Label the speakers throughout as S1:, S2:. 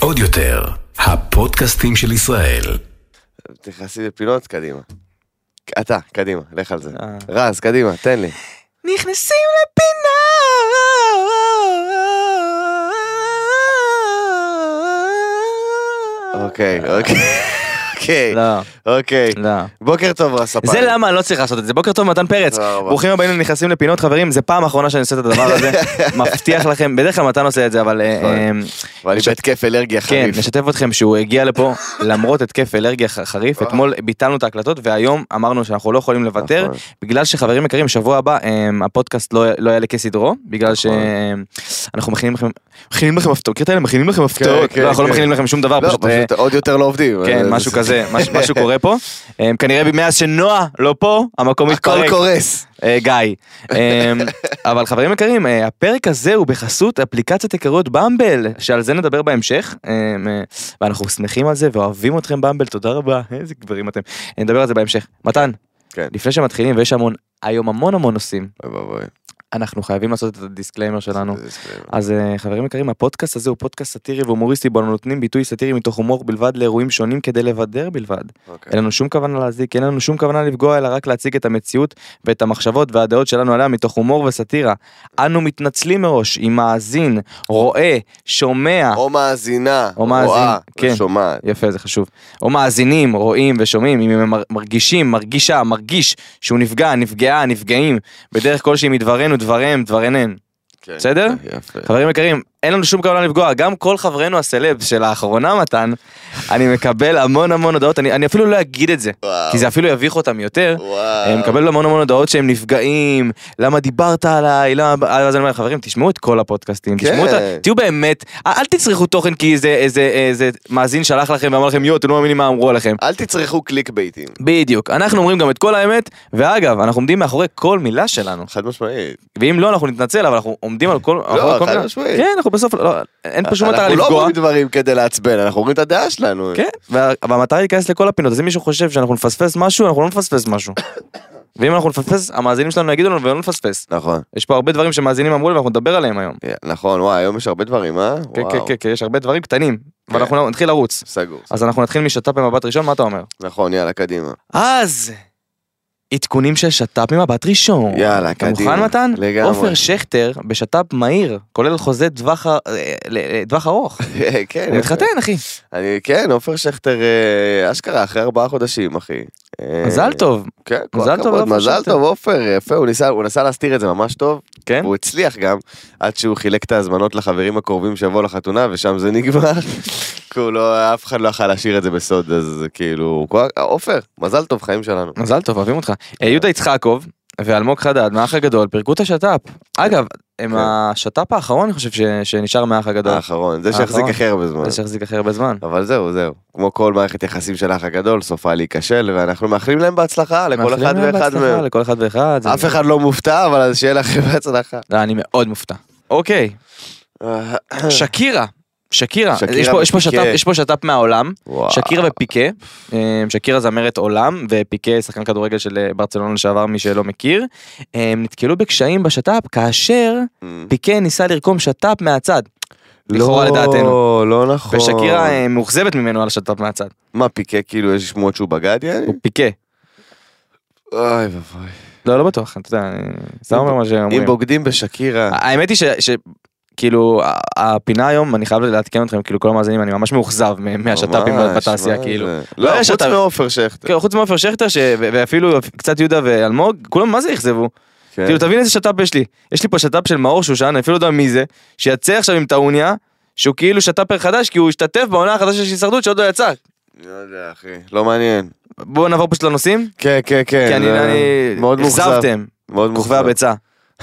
S1: עוד יותר, הפודקאסטים של ישראל.
S2: תכנסי לפינות, קדימה. אתה, קדימה, לך על זה.
S3: אה.
S2: רז, קדימה, תן לי.
S3: נכנסים לפינה.
S2: אוקיי, אוקיי. אוקיי,
S3: לא,
S2: אוקיי.
S3: לא.
S2: בוקר טוב, רז ספן.
S3: זה למה אני לא צריך לעשות את זה. בוקר טוב, מתן פרץ.
S2: תודה רבה.
S3: ברוכים הבאים לנכנסים לפינות, חברים. זה פעם אחרונה שאני עושה את הדבר הזה. מבטיח לכם, בדרך כלל מתן עושה את זה, אבל... אה,
S2: נכון.
S3: אה,
S2: ואני
S3: עכשיו-
S2: בהתקף אלרגיה
S3: כן,
S2: חריף.
S3: נשתף אתכם שהוא הגיע לפה למרות התקף אלרגיה ח- חריף, אתמול ביטלנו את ההקלטות והיום אמרנו שאנחנו לא יכולים לוותר,
S2: נכון.
S3: בגלל שחברים יקרים, שבוע הבא אמ, הפודקאסט לא לא יעלה כסדרו,
S2: נכון.
S3: בגלל שאנחנו מכינים לכם, מכינים לכם הפתעות, מכיר את האלה? מכינים לכם הפתעות,
S2: כן,
S3: לא, אנחנו לא
S2: כן.
S3: מכינים לכם שום דבר,
S2: לא,
S3: פשוט... אה,
S2: פשוט עוד יותר לא עובדים.
S3: כן,
S2: אה,
S3: משהו
S2: זה-
S3: כזה, מש- משהו קורה פה. אמ, כנראה מאז שנועה לא פה, המקום
S2: הכל
S3: מתפרק.
S2: קורס.
S3: אה, גיא. אמ, אבל חברים יקרים, אה, הפרק הזה הוא בחסות אפליקציית היכרויות במבל, שעל זה נדבר בהמשך, אמ, אה, ואנחנו שמחים על זה ואוהבים אתכם במבל, תודה רבה, איזה גברים אתם. אה, נדבר על זה בהמשך. מתן,
S2: כן.
S3: לפני שמתחילים, ויש המון, היום המון המון נושאים,
S2: אוי ואבוי.
S3: אנחנו חייבים לעשות את הדיסקליימר שלנו.
S2: זה ספרים.
S3: אז אה, חברים יקרים, הפודקאסט הזה הוא פודקאסט סאטירי והומוריסטי, בו אנו נותנים ביטוי סאטירי מתוך הומור בלבד לאירועים שונים כדי לבדר בלבד.
S2: אוקיי.
S3: אין לנו שום כוונה להזיק, אין לנו שום כוונה לפגוע, אלא רק להציג את המציאות ואת המחשבות והדעות שלנו עליה מתוך הומור וסאטירה. אנו מתנצלים מראש אם מאזין, רואה, שומע,
S2: או מאזינה,
S3: או מאזין,
S2: רואה,
S3: כן.
S2: שומעת.
S3: יפה זה חשוב, או מאזינים, רואים ושומעים, אם הם מר- מרגישים, מרגישה, מרגיש שהוא נפגע, נפגעה, נפגעים, בדרך כלשהי מדברנו, דבריהם, דברנן.
S2: כן.
S3: בסדר? אה,
S2: יפה.
S3: חברים יקרים, אין לנו שום כוונה לפגוע, גם כל חברינו הסלב שלאחרונה מתן, אני מקבל המון המון הודעות, אני, אני אפילו לא אגיד את זה,
S2: וואו.
S3: כי זה אפילו יביך אותם יותר.
S2: וואו.
S3: אני מקבל המון המון הודעות שהם נפגעים, למה דיברת עליי, למה... אה, אז אני אומר, חברים, תשמעו את כל הפודקאסטים,
S2: כן.
S3: תשמעו את ה... תהיו באמת, אל אל תצרכו תוכן כי איזה- איזה איזה מאזין שלח לכם ואמר לכם, יואו, אתם לא מאמינים מה אמרו עליכם.
S2: אל תצרכו קליק בייטים.
S3: בדיוק, אנחנו אומרים גם את כל האמת, ואגב, אנחנו עומדים מאחורי כל מילה שלנו,
S2: חד משמעית.
S3: ואם לא, אנחנו נתנצל, אבל אנחנו עומדים על כל... מאחורי כל
S2: לא, חד
S3: מילה.
S2: משמעית.
S3: כן, אנחנו בסוף, לא, אין פה שום מטרה
S2: אנחנו לא
S3: לפגוע.
S2: אומרים דברים כדי לעצבן, אנחנו אומרים את הדעה שלנו.
S3: כן, וה- והמטרה היא להיכנס לכל הפינות, אז אם מישהו חושב שאנחנו נפספס משהו, אנחנו לא נפספס משהו. ואם אנחנו נפספס, המאזינים שלנו יגידו לנו ולא נפספס.
S2: נכון.
S3: יש פה הרבה דברים שמאזינים אמרו לי ואנחנו נדבר עליהם היום.
S2: נכון, וואי, היום יש הרבה דברים, אה?
S3: כן, כן,
S2: וואו.
S3: כן, כן, יש הרבה דברים קטנים,
S2: כן.
S3: ואנחנו נתחיל לרוץ.
S2: סגור.
S3: אז אנחנו נתחיל משת"פ במבט ראשון, מה אתה אומר?
S2: נכון, יאללה, קדימה.
S3: אז, עדכונים של שת"פ במבט ראשון.
S2: יאללה,
S3: אתה
S2: קדימה.
S3: מוכן מתן?
S2: לגמרי.
S3: עופר שכטר בשת"פ מהיר, כולל חוזה טווח ה- אה, ל- אה, טווח ארוך.
S2: כן.
S3: הוא
S2: יפה.
S3: מתחתן אחי,
S2: אני, כן, עופר שכטר, אה, אשכרה, אחרי ארבעה חודשים, אחי. אה,
S3: מזל טוב.
S2: כן, כל
S3: מזל טוב
S2: הכבוד,
S3: לעופר
S2: מזל
S3: שכטר.
S2: טוב, עופר, יפה, הוא ניסה, הוא ניסה להסתיר את זה ממש טוב,
S3: כן?
S2: הוא הצליח גם, עד שהוא חילק את ההזמנות לחברים הקרובים שיבואו לחתונה, ושם זה נגמר. כאילו, לא, אף אחד לא יכול להשאיר את זה בסוד, אז זה כאילו, כל- עופר, מזל טוב, חיים שלנו.
S3: מזל טוב, אוהבים אותך. אה, יהודה יצחקוב ואלמוג חדד מהאח הגדול פירקו את השת"פ. אגב, הם
S2: כן.
S3: השת"פ האחרון אני חושב ש- שנשאר מהאח הגדול.
S2: האחרון, זה
S3: האחרון.
S2: שהחזיק הכי הרבה זמן.
S3: זה שהחזיק הכי הרבה זמן.
S2: אבל זהו, זהו. כמו כל מערכת יחסים של האח הגדול, סופה להיכשל, ואנחנו מאחלים להם בהצלחה, לכל
S3: מאחלים
S2: אחד
S3: להם
S2: ואחד
S3: בהצלחה,
S2: מהם.
S3: לכל אחד ואחד. זה-
S2: אף אחד לא מופתע, אבל אז שיהיה לכם בהצלחה.
S3: לא, אני מאוד מופתע. אוקיי, שקירה. שקירה,
S2: שקירה
S3: יש פה- יש פה
S2: ופיקה.
S3: שת"פ- יש פה שת"פ מהעולם,
S2: וואו.
S3: שקירה ופיקה, אה, שקירה זמרת עולם ופיקה שחקן כדורגל של אה, ברצלונה לשעבר מי שלא מכיר, אה, הם נתקלו בקשיים בשת"פ כאשר
S2: Mm.
S3: פיקה ניסה לרקום שת"פ מהצד, לכאורה לדעתנו,
S2: לא, לא נכון.
S3: ושקירה אה, מאוכזבת ממנו על השת"פ מהצד,
S2: מה, פיקה כאילו יש שמועות שהוא בגד, יעני?
S3: הוא פיקה,
S2: אוי ואבוי.
S3: לא לא בטוח, אתה יודע, אני סתם אומר מה
S2: אם
S3: שאומרים,
S2: בוגדים בשקירה...
S3: האמת היא ש... ש... כאילו ה- הפינה היום אני חייב לעדכן אתכם כאילו כל המאזינים אני ממש מאוכזב מ- מהשת"פים
S2: ממש,
S3: בתעשייה
S2: מה
S3: כאילו.
S2: זה?
S3: לא,
S2: לא,
S3: יש
S2: חוץ
S3: שת"פ.
S2: מעופר שכטר.
S3: כן, חוץ מעופר שכטר ש- ו- ואפילו קצת יהודה ואלמוג כולם מה זה אכזבו.
S2: כן.
S3: כאילו תבין איזה שת"פ יש לי. יש לי פה שת"פ של מאור שושן אני אפילו לא יודע מי זה שיצא עכשיו עם טעוניה שהוא כאילו שת"פר חדש כי הוא השתתף בעונה החדשה של הישרדות שעוד לא יצא.
S2: לא יודע, אחי. לא מעניין.
S3: בואו נעבור פשוט לנושאים.
S2: כן, כן, כן.
S3: כי אני
S2: זה מאוד
S3: אני-
S2: מאוכזב.
S3: אכזבתם
S2: מאוד
S3: כוכבי
S2: מאוכזב.
S3: הביצה.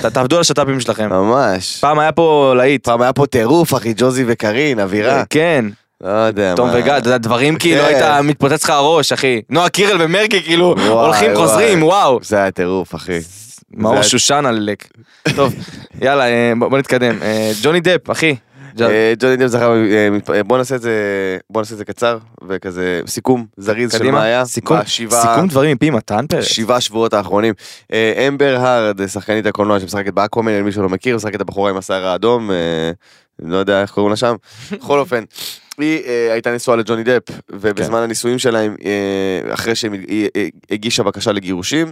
S3: ת- תעבדו על השת"פים שלכם.
S2: ממש.
S3: פעם היה פה להיט.
S2: פעם היה פה טירוף, אחי, ג'וזי וקארין, אווירה.
S3: כן.
S2: לא יודע מה.
S3: תום וגד, אתה יודע, דברים כאילו
S2: כן.
S3: היית מתפוצץ לך הראש, אחי. נועה קירל ומרגי כאילו
S2: וואי,
S3: הולכים,
S2: וואי.
S3: חוזרים, וואו.
S2: זה היה טירוף, אחי.
S3: מאור
S2: זה-
S3: שושן עלק. טוב, יאללה, אה, בוא בוא נתקדם. אה, ג'וני דפ, אחי. ג'-
S2: אה, ג'וני דב זכה, אה, מתפ- אה, בוא נעשה את זה, בוא נעשה את זה קצר, וכזה סיכום זריז של מה היה.
S3: קדימה. סיכום
S2: אה, בשבעה-
S3: סיכום דברים מפי מתן פרץ.
S2: שבעה שבועות האחרונים. אה, אמבר הרד, שחקנית הקולנוע שמשחקת באקוומן, למי שלא מכיר, משחקת הבחורה עם השיער האדום, אה, לא יודע איך קוראים לה שם. בכל אופן, היא אה, הייתה נשואה לג'וני דפ, ובזמן הנישואים שלהם, אה, אחרי שהיא אה, הגישה בקשה לגירושים,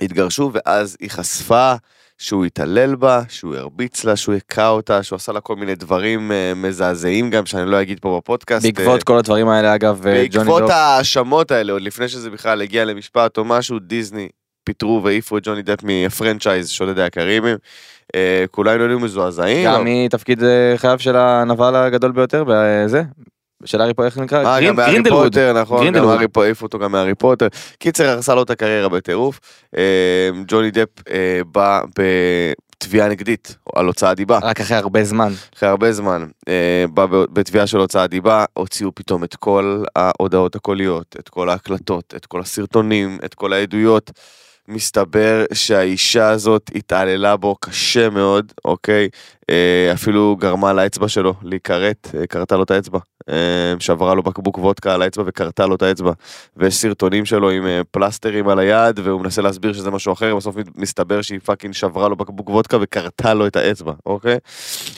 S2: התגרשו, ואז היא חשפה שהוא התעלל בה, שהוא הרביץ לה, שהוא הכה אותה, שהוא עשה לה כל מיני דברים אה, מזעזעים גם, שאני לא אגיד פה בפודקאסט. אה,
S3: בעקבות כל הדברים האלה אגב, אה, ג'וני
S2: בעקבות
S3: דופ.
S2: ההאשמות האלה, עוד לפני שזה בכלל הגיע למשפט או משהו, דיסני פיטרו והעיפו את ג'וני דפ מהפרנצ'ייז שודדי הקרימים. אה, כולנו היינו מזועזעים.
S3: גם
S2: אבל-
S3: מתפקיד אה, חייו של הנבל הגדול ביותר, וזה, של הארי פה, איך זה נקרא?
S2: אה,
S3: גרין-
S2: גם מהארי
S3: גרינדלווד.
S2: פוטר, נכון, גם
S3: גרינדלווד.
S2: הארי פוטר, העיפו אותו גם מהארי פוטר. קיצר, הרסה לו את הקריירה בטירוף. אה, ג'וני דפ אה, בא בתביעה נגדית על הוצאת דיבה.
S3: רק אחרי הרבה זמן.
S2: אחרי הרבה זמן, אה, בא ב- בתביעה של הוצאת דיבה, הוציאו פתאום את כל ההודעות הקוליות, את כל ההקלטות, את כל הסרטונים, את כל העדויות. מסתבר שהאישה הזאת התעללה בו קשה מאוד, אוקיי? אה, אפילו גרמה לאצבע שלו להיכרת, אה, כרתה לו את האצבע. אה, שברה לו בקבוק וודקה על האצבע וכרתה לו את האצבע. ויש סרטונים שלו עם אה, פלסטרים על היד, והוא מנסה להסביר שזה משהו אחר, בסוף מת- מסתבר שהיא פאקינג שברה לו בקבוק וודקה וכרתה לו את האצבע, אוקיי?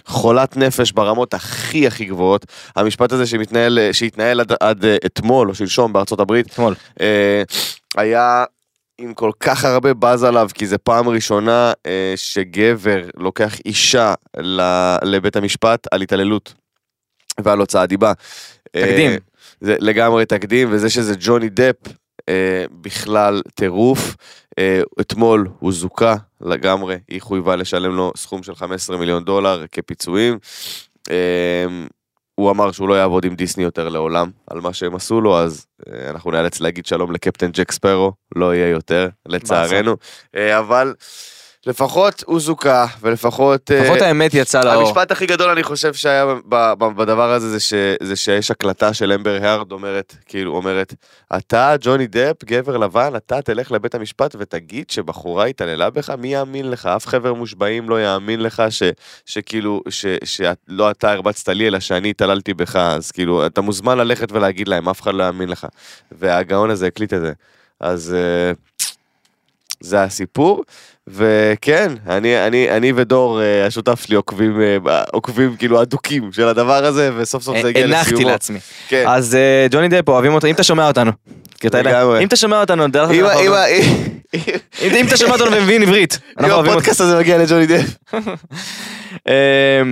S2: חולת נפש ברמות הכי הכי גבוהות. המשפט הזה שמתנהל, אה, שהתנהל עד, עד אה, אתמול או שלשום בארצות הברית,
S3: אתמול.
S2: אה, היה עם כל כך הרבה באז עליו, כי זה פעם ראשונה אה, שגבר לוקח אישה ל- לבית המשפט על התעללות ועל הוצאת דיבה. אה,
S3: תקדים.
S2: זה לגמרי תקדים, וזה שזה ג'וני דפ אה, בכלל טירוף. אה, אתמול הוא זוכה לגמרי, היא חויבה לשלם לו סכום של 15 מיליון דולר כפיצויים. אה, הוא אמר שהוא לא יעבוד עם דיסני יותר לעולם על מה שהם עשו לו, אז אה, אנחנו נאלץ להגיד שלום לקפטן ג'ק ספרו, לא יהיה יותר, לצערנו. אה, אבל לפחות הוא זוכה, ולפחות... אה,
S3: לפחות האמת יצאה לאור.
S2: המשפט הכי גדול אני חושב שהיה ב- ב- בדבר הזה זה, ש, זה שיש הקלטה של אמבר הארד אומרת, כאילו אומרת, אתה ג'וני דפ, גבר לבן, אתה תלך לבית המשפט ותגיד שבחורה התעללה בך, מי יאמין לך? אף חבר מושבעים לא יאמין לך ש, שכאילו, ש, שלא אתה הרבצת לי אלא שאני התעללתי בך, אז כאילו, אתה מוזמן ללכת ולהגיד להם, אף אחד לא יאמין לך. והגאון הזה הקליט את זה. אז... אה, זה הסיפור, וכן, אני, אני, אני ודור, אה, השותף שלי, עוקבים, אה, ב- עוקבים כאילו אדוקים של הדבר הזה, וסוף סוף זה הגיע לסיומו.
S3: אה, הנחתי לעצמי.
S2: כן.
S3: אז אה, ג'וני דפ, אוהבים אותו, אם אתה שומע אותנו. כדאי לה-
S2: לגמרי.
S3: אם אתה שומע אותנו, נדע לך
S2: אם
S3: שאנחנו
S2: ה- אם
S3: אוהבים.
S2: ה- אם-
S3: אם אם אתה שומע אותנו ומבין עברית,
S2: אם
S3: אנחנו אוהבים אותך.
S2: הפודקאסט הזה מגיע לג'וני דף.
S3: אה,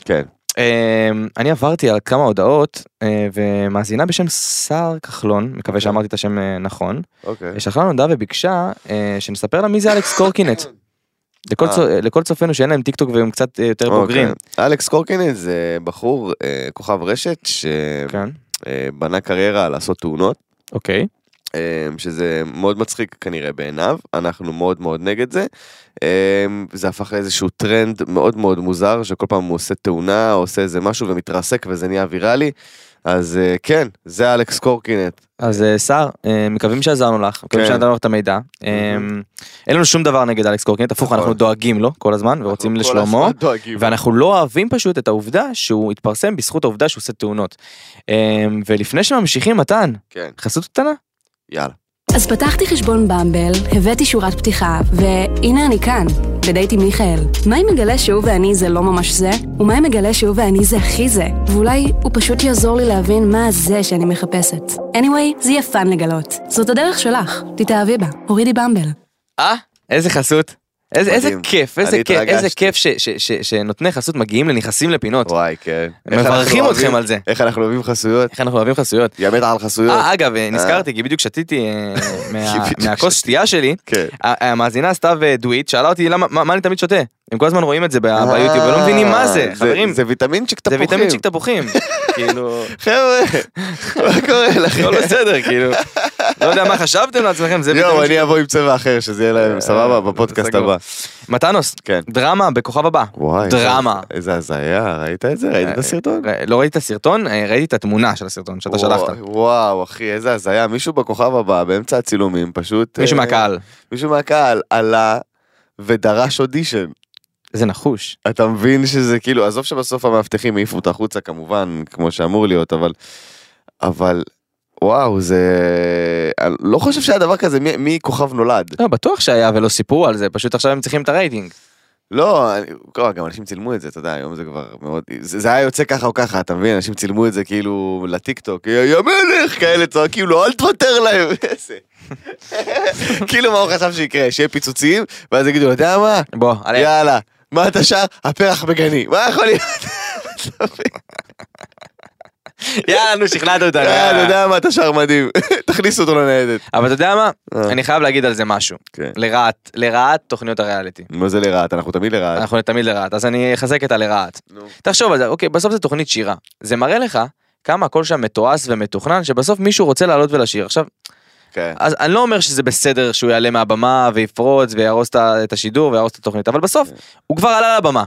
S2: כן.
S3: אה, אני עברתי על כמה הודעות אה, ומאזינה בשם סער כחלון, מקווה שאמרתי את השם אה, נכון,
S2: אוקיי.
S3: שלחה לנו הודעה וביקשה אה, שנספר לה מי זה אלכס קורקינט. לכל
S2: אה.
S3: צו- לכל צופינו שאין להם טיק טוק והם קצת אה, יותר בוגרים.
S2: אוקיי. אלכס קורקינן זה בחור, אה, כוכב רשת, שבנה
S3: כן.
S2: קריירה על לעשות תאונות.
S3: אוקיי.
S2: אמ, שזה מאוד מצחיק כנראה בעיניו, אנחנו מאוד מאוד נגד זה. אמ, זה הפך לאיזשהו טרנד מאוד מאוד מוזר, שכל פעם הוא עושה תאונה, או עושה איזה משהו ומתרסק וזה נהיה ויראלי. אז אה, כן, זה אלכס קורקינט.
S3: אז אה, סער, אה, מקווים שעזרנו לך, מקווים
S2: כן.
S3: שנתנו לך את המידע. אה, אין לנו שום דבר נגד אלכס קורקינט, הפוך,
S2: נכון.
S3: אנחנו דואגים לו כל הזמן ורוצים
S2: אנחנו כל
S3: לשלומו.
S2: הזמן דואגים.
S3: ואנחנו לא אוהבים פשוט את העובדה שהוא התפרסם בזכות העובדה שהוא עושה תאונות. אמ, ולפני שממשיכים מתן,
S2: כן,
S3: חסות קטנה?
S2: יאללה.
S4: אז פתחתי חשבון במבל, הבאתי שורת פתיחה, והנה אני כאן, בדייט עם מיכאל. מה אם מגלה שהוא ואני זה לא ממש זה? ומה אם מגלה שהוא ואני זה הכי זה? ואולי הוא פשוט יעזור לי להבין מה זה שאני מחפשת. anyway, זה יהיה פאן לגלות. זאת הדרך שלך, תתאהבי בה. הורידי במבל.
S3: אה? איזה חסות? איזה, איזה
S2: מדהים.
S3: כיף,
S2: אני
S3: איזה כיף, איזה
S2: התרגשתי.
S3: כיף ש, ש, ש, שנותני חסות מגיעים לנכסים לפינות.
S2: וואי, כן.
S3: מברכים
S2: איך אנחנו
S3: אתכם
S2: אוהבים-
S3: על זה.
S2: איך אנחנו אוהבים חסויות.
S3: איך אנחנו אוהבים חסויות.
S2: ימת על חסויות.
S3: אה, אגב, אה, נזכרתי, כי בדיוק שתיתי אה, מה-
S2: כי בדיוק
S3: מהכוס שתייה שלי,
S2: כן.
S3: ה- המאזינה סתיו אה, דוויט שאלה אותי למה, מה מה אני תמיד שותה? הם כל הזמן רואים את זה ב- אה, ביוטיוב ולא מבינים מה זה,
S2: אה,
S3: חברים,
S2: זה ויטמינצ'יק
S3: זה
S2: תפוחים.
S3: ויטמינצ'יק תפוחים. כאילו...
S2: חבר'ה, מה קורה לכם?
S3: הכל בסדר, כאילו. לא יודע מה חשבתם לעצמכם, זה
S2: יואו,
S3: בדיוק-
S2: אני אבוא עם צבע אחר, שזה יהיה להם סבבה בפודקאסט
S3: אה, סגור.
S2: הבא.
S3: מתנוס,
S2: כן.
S3: דרמה בכוכב הבא.
S2: וואי.
S3: דרמה.
S2: איזה- איזה הזיה, ראית את זה? ראית את הסרטון?
S3: אה, לא ראיתי את הסרטון, אה, ראיתי את התמונה של הסרטון שאתה
S2: וואו,
S3: שלחת.
S2: וואו, אחי, איזה הזיה. מישהו בכוכב הבא, באמצע הצילומים, פשוט...
S3: מישהו
S2: אה,
S3: מהקהל.
S2: מישהו מהקהל עלה ודרש אודישן.
S3: זה נחוש.
S2: אתה מבין שזה כאילו, עזוב שבסוף המאבטחים העיפו אותה החוצה כמובן, כמו שאמור להיות, אבל... אבל... וואו, זה... אני לא חושב שהיה דבר כזה, מי, מי כוכב נולד?
S3: לא, בטוח שהיה ולא סיפרו על זה, פשוט עכשיו הם צריכים את הרייטינג.
S2: לא, אני- לא, גם אנשים צילמו את זה, אתה יודע, היום זה כבר מאוד... זה זה היה יוצא ככה או ככה, אתה מבין? אנשים צילמו את זה כאילו לטיקטוק, יא יא מלך, כאלה צועקים לו, אל תוותר להם, איזה. כאילו מה הוא חשב שיקרה, שיהיה פיצוצים, ואז יגידו, אתה יודע מה?
S3: בוא, עלי.
S2: יאללה, מה אתה שר? הפרח בגני, מה יכול להיות? אתה מבין?
S3: יאללה, נו, שכנעת אותנו.
S2: אה, אתה
S3: יאללה.
S2: יודע מה, אתה שר מדהים, תכניס אותו לניידת.
S3: אבל אתה יודע מה?
S2: אה.
S3: אני חייב להגיד על זה משהו.
S2: כן.
S3: לרעת, לרעת תוכניות הריאליטי.
S2: מה זה לרעת? אנחנו תמיד לרעת.
S3: אנחנו תמיד לרעת, אז אני אחזק את הלרעת.
S2: נו.
S3: תחשוב על זה, אוקיי, בסוף זו תוכנית שירה. זה מראה לך כמה הכל שם מתועש ומתוכנן, שבסוף מישהו רוצה לעלות ולשיר. עכשיו,
S2: כן.
S3: אז אני לא אומר שזה בסדר שהוא יעלה מהבמה ויפרוץ ויהרוס את ה- את השידור ויהרוס את התוכנית, אבל בסוף הוא כבר עלה לבמה.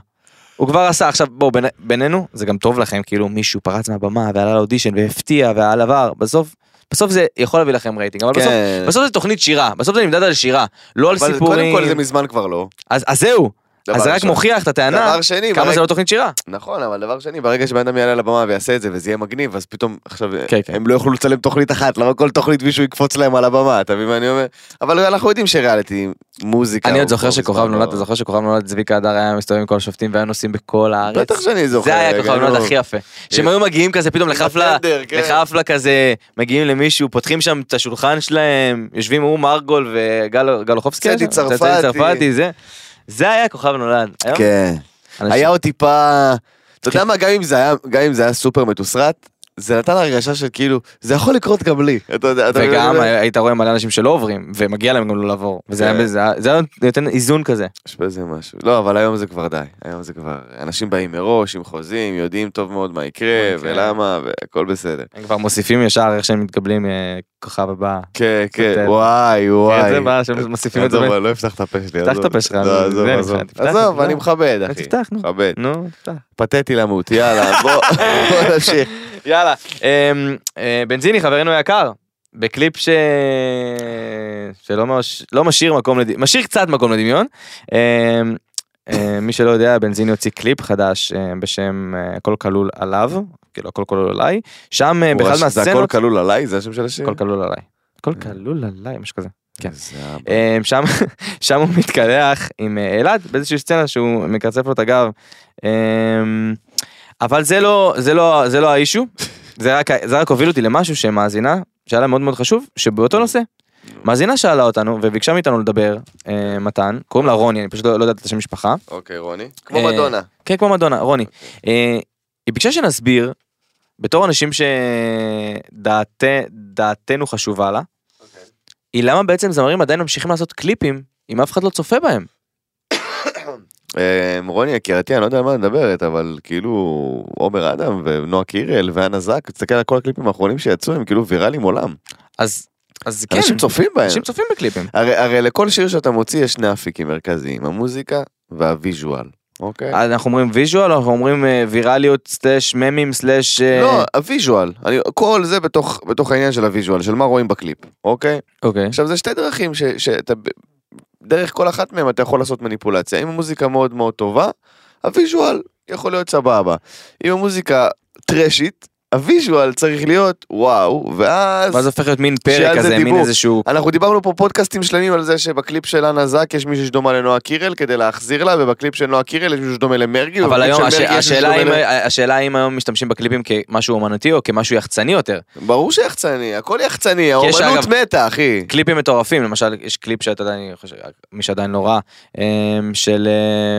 S3: הוא כבר עשה, עכשיו בואו בין- בינינו, זה גם טוב לכם, כאילו מישהו פרץ מהבמה ועלה לאודישן והפתיע ועל עבר, בסוף, בסוף זה יכול להביא לכם רייטינג, אבל בסוף,
S2: כן.
S3: בסוף זה תוכנית שירה, בסוף זה נמדד על שירה, לא על
S2: אבל קודם
S3: סיפורים,
S2: כל זה מזמן כבר לא.
S3: אז אז זהו,
S2: דבר
S3: אז זה רק
S2: ראשון.
S3: מוכיח את הטענה,
S2: דבר שני,
S3: כמה
S2: ברגע-
S3: זה לא תוכנית שירה.
S2: נכון, אבל דבר שני, ברגע שבן אדם יעלה על הבמה ויעשה את זה וזה יהיה מגניב, אז פתאום עכשיו
S3: כן, כן.
S2: הם לא יוכלו לצלם תוכנית אחת, למה כל תוכנית מישהו יקפוץ להם על הבמה, אתה מבין מה אני אומר? אבל אנחנו יודעים שריאליטי, מוזיקה...
S3: אני
S2: כן, הוא
S3: עוד זוכר
S2: כבר
S3: שכוכב
S2: מזמן
S3: נולד,
S2: לא-
S3: אתה זוכר שכוכב נולד צביקה הדר היה מסתובב עם כל השופטים והיה נוסעים בכל הארץ?
S2: בטח שאני זוכר.
S3: זה היה
S2: רגע,
S3: כוכב
S2: נו.
S3: נולד הכי יפה. שהם היו מגיעים כזה פתאום לחפלה,
S2: הטנדר, כן.
S3: לחפלה כזה, מגיעים למישהו, פותחים שם את השולחן שלהם, יושבים הוא מרגול וגל אוחובסקי.
S2: צדי
S3: היה שם?
S2: צרפתי.
S3: צרפתי, זה. זה היה כוכב נולד. היום
S2: כן.
S3: אנשים- כן.
S2: היה עוד טיפה... אתה יודע מה, גם אם זה היה- גם אם זה היה סופר מתוסרט, זה נתן הרגשה של כאילו, זה יכול לקרות גם לי. אתה יודע, אתה מבין מה
S3: וגם
S2: אני אומר?
S3: היית רואה מלא אנשים שלא עוברים, ומגיע להם גם לא לעבור. וזה
S2: כן.
S3: היה- זה היה- זה היה נותן איזון כזה.
S2: יש בזה משהו. לא, אבל היום זה כבר די. היום זה כבר... אנשים באים מראש עם חוזים, יודעים טוב מאוד מה יקרה,
S3: יקרה.
S2: ולמה, והכל בסדר.
S3: הם כבר מוסיפים ישר איך שהם מתקבלים, אה, כוכב הבא.
S2: כן, כן,
S3: אתה-
S2: וואי,
S3: כן, זה
S2: וואי.
S3: מה שהם מוסיפים את זה.
S2: עזוב, אני לא אפתח את הפה שלי.
S3: פתח את
S2: עזוב.
S3: הפה שלך,
S2: לא,
S3: זה
S2: עזוב,
S3: אני
S2: עזוב.
S3: חייב, תפתח,
S2: עזוב,
S3: תפתח.
S2: אני מכבד, אחי.
S3: תפתח, נו.
S2: מכבד.
S3: נו, אתה.
S2: פתטי למות, יאללה, בוא בוא נמשיך.
S3: יאללה. אמ, אה, בנזיני, חברנו היקר, בקליפ ש... שלא מש... לא משאיר מקום לדמיון, משאיר קצת מקום לדמיון. אמ, אה, מי שלא יודע, בנזיני הוציא קליפ חדש אה, בשם אה, הכל כלול עליו, כאילו הכל כלול עליי, שם אה, באחד
S2: זה הכל
S3: מהסצנות,
S2: כלול עליי? זה השם של השיר?
S3: הכל כלול עליי, הכל כלול עליי, משהו כזה. כן.
S2: זה ה-
S3: אמ, שם, שם הוא מתקלח עם אה, אלעד באיזושהי סצנה שהוא מקרצף לו את הגב. אמ, אבל זה לא, זה לא, זה לא האישו, זה רק, זה רק הוביל אותי למשהו שמאזינה, שהיה לה מאוד מאוד חשוב, שבאותו נושא. מאזינה שאלה אותנו וביקשה מאיתנו לדבר, אה, מתן, קוראים לה רוני, אני פשוט לא, לא יודעת את השם משפחה.
S2: אוקיי, רוני. כמו
S3: אה,
S2: מדונה.
S3: כן, כמו מדונה, רוני. אה, היא ביקשה שנסביר, בתור אנשים שדעתנו חשובה לה,
S2: אוקיי.
S3: היא למה בעצם זמרים עדיין ממשיכים לעשות קליפים אם אף אחד לא צופה בהם.
S2: אה, רוני יקירתי, אני לא יודע על מה את מדברת, אבל כאילו עומר אדם ונועה קירל ואנה זק, תסתכל על כל הקליפים האחרונים שיצאו, הם כאילו ויראליים עולם.
S3: אז, אז כן,
S2: אנשים צופים בהם.
S3: אנשים צופים בקליפים.
S2: הרי הרי לכל שיר שאתה מוציא יש שני אפיקים מרכזיים, המוזיקה והוויז'ואל, אוקיי?
S3: אז אנחנו אומרים ויז'ואל, אנחנו אומרים אה, ויראליות סלאש ממים סלאש... אה,
S2: לא, הוויז'ואל, אני- כל זה בתוך בתוך העניין של הוויז'ואל, של מה רואים בקליפ, אוקיי?
S3: אוקיי.
S2: עכשיו זה שתי דרכים ש- שאתה, ב- דרך כל אחת מהן אתה יכול לעשות מניפולציה. אם המוזיקה מאוד מאוד טובה, הוויז'ואל יכול להיות סבבה. אם המוזיקה טרשית, הוויז'ואל צריך להיות וואו, ואז...
S3: ואז הופך להיות מין
S2: שעל
S3: פרק
S2: זה
S3: כזה, מין
S2: דיבור.
S3: איזשהו...
S2: אנחנו דיברנו פה פודקאסטים שלמים על זה שבקליפ של אנה זק יש מישהי שדומה לנועה קירל כדי להחזיר לה, ובקליפ של נועה קירל יש מישהו שדומה למרגי,
S3: אבל
S2: ובקליפ
S3: היום
S2: של
S3: הש-
S2: מרגי יש מישהו
S3: השאלה
S2: שדומה
S3: אם-
S2: ל-
S3: השאלה אם היום משתמשים בקליפים כמשהו אומנותי או כמשהו יחצני יותר.
S2: ברור שיחצני, הכל יחצני,
S3: יש,
S2: האומנות
S3: אגב-
S2: מתה, אחי.
S3: קליפים מטורפים, למשל יש קליפ שאתה יודע, אני חושב, מי שעדיין לא ראה, אמ, של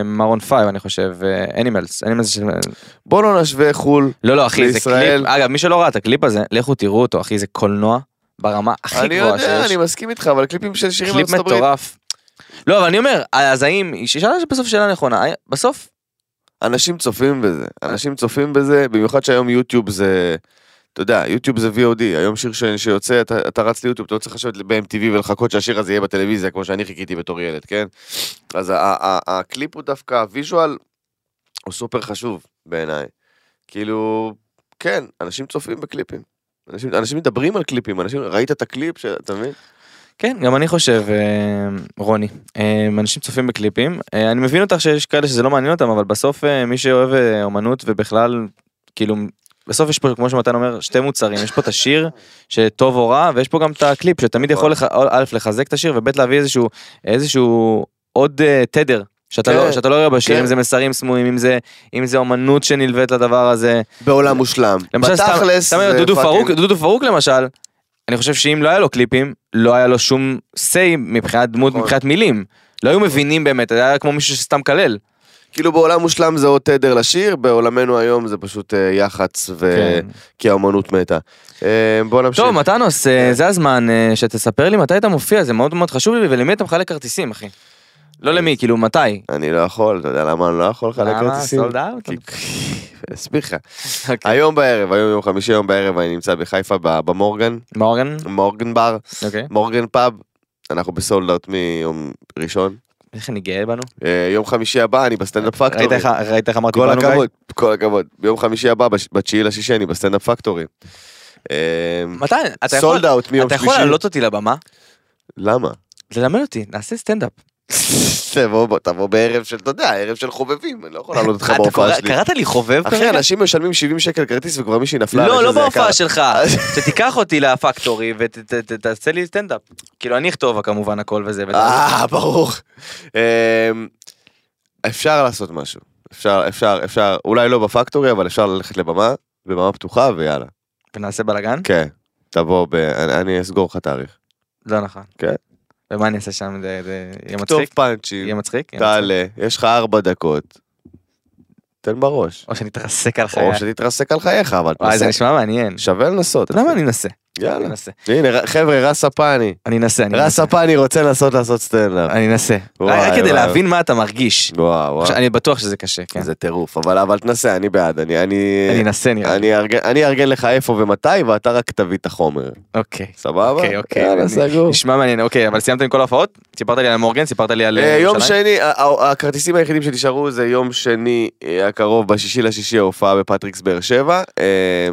S3: מרון פייב אני חושב, אנימלס, אנימלס של...
S2: בוא לא נשווה חו"ל.
S3: לא לא אחי זה
S2: לישראל.
S3: קליפ, אגב מי שלא ראה את הקליפ הזה, לכו תראו אותו אחי זה קולנוע ברמה הכי
S2: אני
S3: גבוהה שיש.
S2: יודע, אני מסכים איתך, אבל קליפים של שירים
S3: קליפ
S2: בארצות הברית,
S3: מטורף. לא אבל אני אומר, אז האם, היא שאלה בסוף שאלה נכונה, בסוף,
S2: אנשים צופים בזה, אנשים צופים בזה, במיוחד שהיום יוטיוב זה, אתה יודע, יוטיוב זה VOD, היום שיר ש... שיוצא, אתה, אתה רץ ליוטיוב, אתה לא צריך לשבת ב-MTV ולחכות שהשיר הזה יהיה בטלוויזיה, כמו שאני חיכיתי בתור ילד, כן? אז ה- ה- ה- הקליפ הוא דווקא, הוויז'ואל הוא סופר חשוב בעיניי. כאילו, כן, אנשים צופים בקליפים. אנשים, אנשים מדברים על קליפים, אנשים, ראית את הקליפ, ש- אתה מבין?
S3: כן גם אני חושב, אה, רוני, אה, אנשים צופים בקליפים, אה, אני מבין אותך שיש כאלה שזה לא מעניין אותם, אבל בסוף אה, מי שאוהב אה, אומנות ובכלל, כאילו, בסוף יש פה, כמו שמתן אומר, שתי מוצרים, יש פה את השיר שטוב או רע, ויש פה גם את הקליפ שתמיד יכול לח- א', לחזק את השיר, וב', להביא איזשהו, איזשהו עוד אה, תדר שאתה
S2: כן,
S3: לא- שאתה לא רואה בשיר,
S2: כן.
S3: אם זה מסרים סמויים, אם זה- אם זה אומנות שנלווית לדבר הזה.
S2: בעולם מושלם.
S3: למשל, סתם-
S2: בתכלס,
S3: סתם אומר,
S2: זה
S3: דודו
S2: fucking-
S3: פרוק, דודו פרוק למשל, אני חושב שאם לא היה לו קליפים, לא היה לו שום say מבחינת דמות,
S2: נכון.
S3: מבחינת מילים. לא היו מבינים באמת, זה היה כמו מישהו שסתם קלל.
S2: כאילו בעולם מושלם זה עוד תדר לשיר, בעולמנו היום זה פשוט אה, יח"צ, ו...
S3: כן.
S2: כי האמנות מתה. אה, בוא נמשיך.
S3: טוב, מתנוס, אה,
S2: כן.
S3: זה הזמן אה, שתספר לי מתי אתה מופיע, זה מאוד מאוד חשוב לי, ולמי אתה מחלק כרטיסים, אחי? לא
S2: אה,
S3: למי, כאילו, מתי?
S2: אני לא יכול, אתה יודע למה אני לא יכול לחלק
S3: למה?
S2: כרטיסים?
S3: Sold out?
S2: כי- אסביר לך.
S3: אוקיי.
S2: היום בערב, היום יום חמישי, היום בערב אני נמצא בחיפה ב- במורגן,
S3: מורגן?
S2: מורגן בר,
S3: אוקיי.
S2: מורגן פאב, אנחנו בסולד אאוט מיום ראשון.
S3: איך אני גאה בנו?
S2: אה, יום חמישי הבא אני בסטנדאפ פקטורי.
S3: ראית איך- ראית איך אמרתי
S2: כל
S3: בנו, גיא?
S2: הכבוד, כל הכבוד. ביום חמישי הבא, בש- בתשיעי לשישי אני בסטנדאפ פקטורי. אה,
S3: מתי? אתה יכול-
S2: סולד אאוט מיום
S3: אתה יכול
S2: שלישי.
S3: להעלות אותי לבמה?
S2: למה?
S3: ללמד אותי, נעשה סטנדאפ.
S2: תבוא, בוא, תבוא בערב של, אתה יודע, ערב של חובבים, אני לא יכול לעלות אותך
S3: אתה
S2: בהופעה
S3: קורא-
S2: שלי.
S3: קראת לי חובב
S2: אחי, אנשים משלמים 70 שקל כרטיס וכבר מישהי נפלה.
S3: לא,
S2: עליך,
S3: לא
S2: זה יקר.
S3: בהופעה שלך, שתיקח אותי לפקטורי ותעשה לי סטנדאפ. כאילו אני אכתוב כמובן הכל וזה וזה.
S2: אה, ברור. אמ, אפשר לעשות משהו. אפשר, אפשר, אפשר, אולי לא בפקטורי, אבל אפשר ללכת לבמה, בבמה פתוחה, ויאללה.
S3: ונעשה בלאגן?
S2: כן, תבוא, ב- אני אני אסגור לך תאריך.
S3: לא נכון.
S2: כן.
S3: ומה אני אעשה שם? זה- זה- יהיה
S2: כתוב
S3: מצחיק? יהיה
S2: פאנצ'ים,
S3: מצחיק? יהיה מצחיק?
S2: תעלה, יש לך ארבע דקות, תן בראש.
S3: או שאני אתרסק על חיי.
S2: או שתתרסק על חייך, אבל
S3: אה, וואי, זה
S2: תנסה.
S3: נשמע מעניין.
S2: שווה לנסות.
S3: אתה יודע מה? אני אנסה. אני
S2: יאללה.
S3: אנסה.
S2: הנה, ר- חבר'ה, רס הפאני.
S3: אני אנסה. אני
S2: רס
S3: אנסה.
S2: הפאני רוצה לנסות לעשות סטנדאפ.
S3: אני אנסה.
S2: וואי,
S3: רק כדי
S2: וואי.
S3: להבין מה אתה מרגיש.
S2: וואו, וואו.
S3: אני בטוח שזה קשה, כן.
S2: זה טירוף, אבל אבל תנסה, אני בעד, אני... אני
S3: אני אנסה נראה לי.
S2: אני אארגן- אני אארגן לך איפה ומתי, ואתה רק תביא את החומר.
S3: אוקיי.
S2: סבבה?
S3: אוקיי, אוקיי.
S2: יאללה,
S3: אני-
S2: סגור.
S3: נשמע מעניין, אוקיי, אבל סיימת עם כל ההופעות? סיפרת לי על מורגן, סיפרת לי על...
S2: אה,
S3: אה,
S2: יום
S3: ירושלים?
S2: שני, ה- ה- הכרטיסים היחידים שנשארו זה יום שני אה, הקרוב, בשישי לשישי ההופעה בפטריקס באר שבע. אה,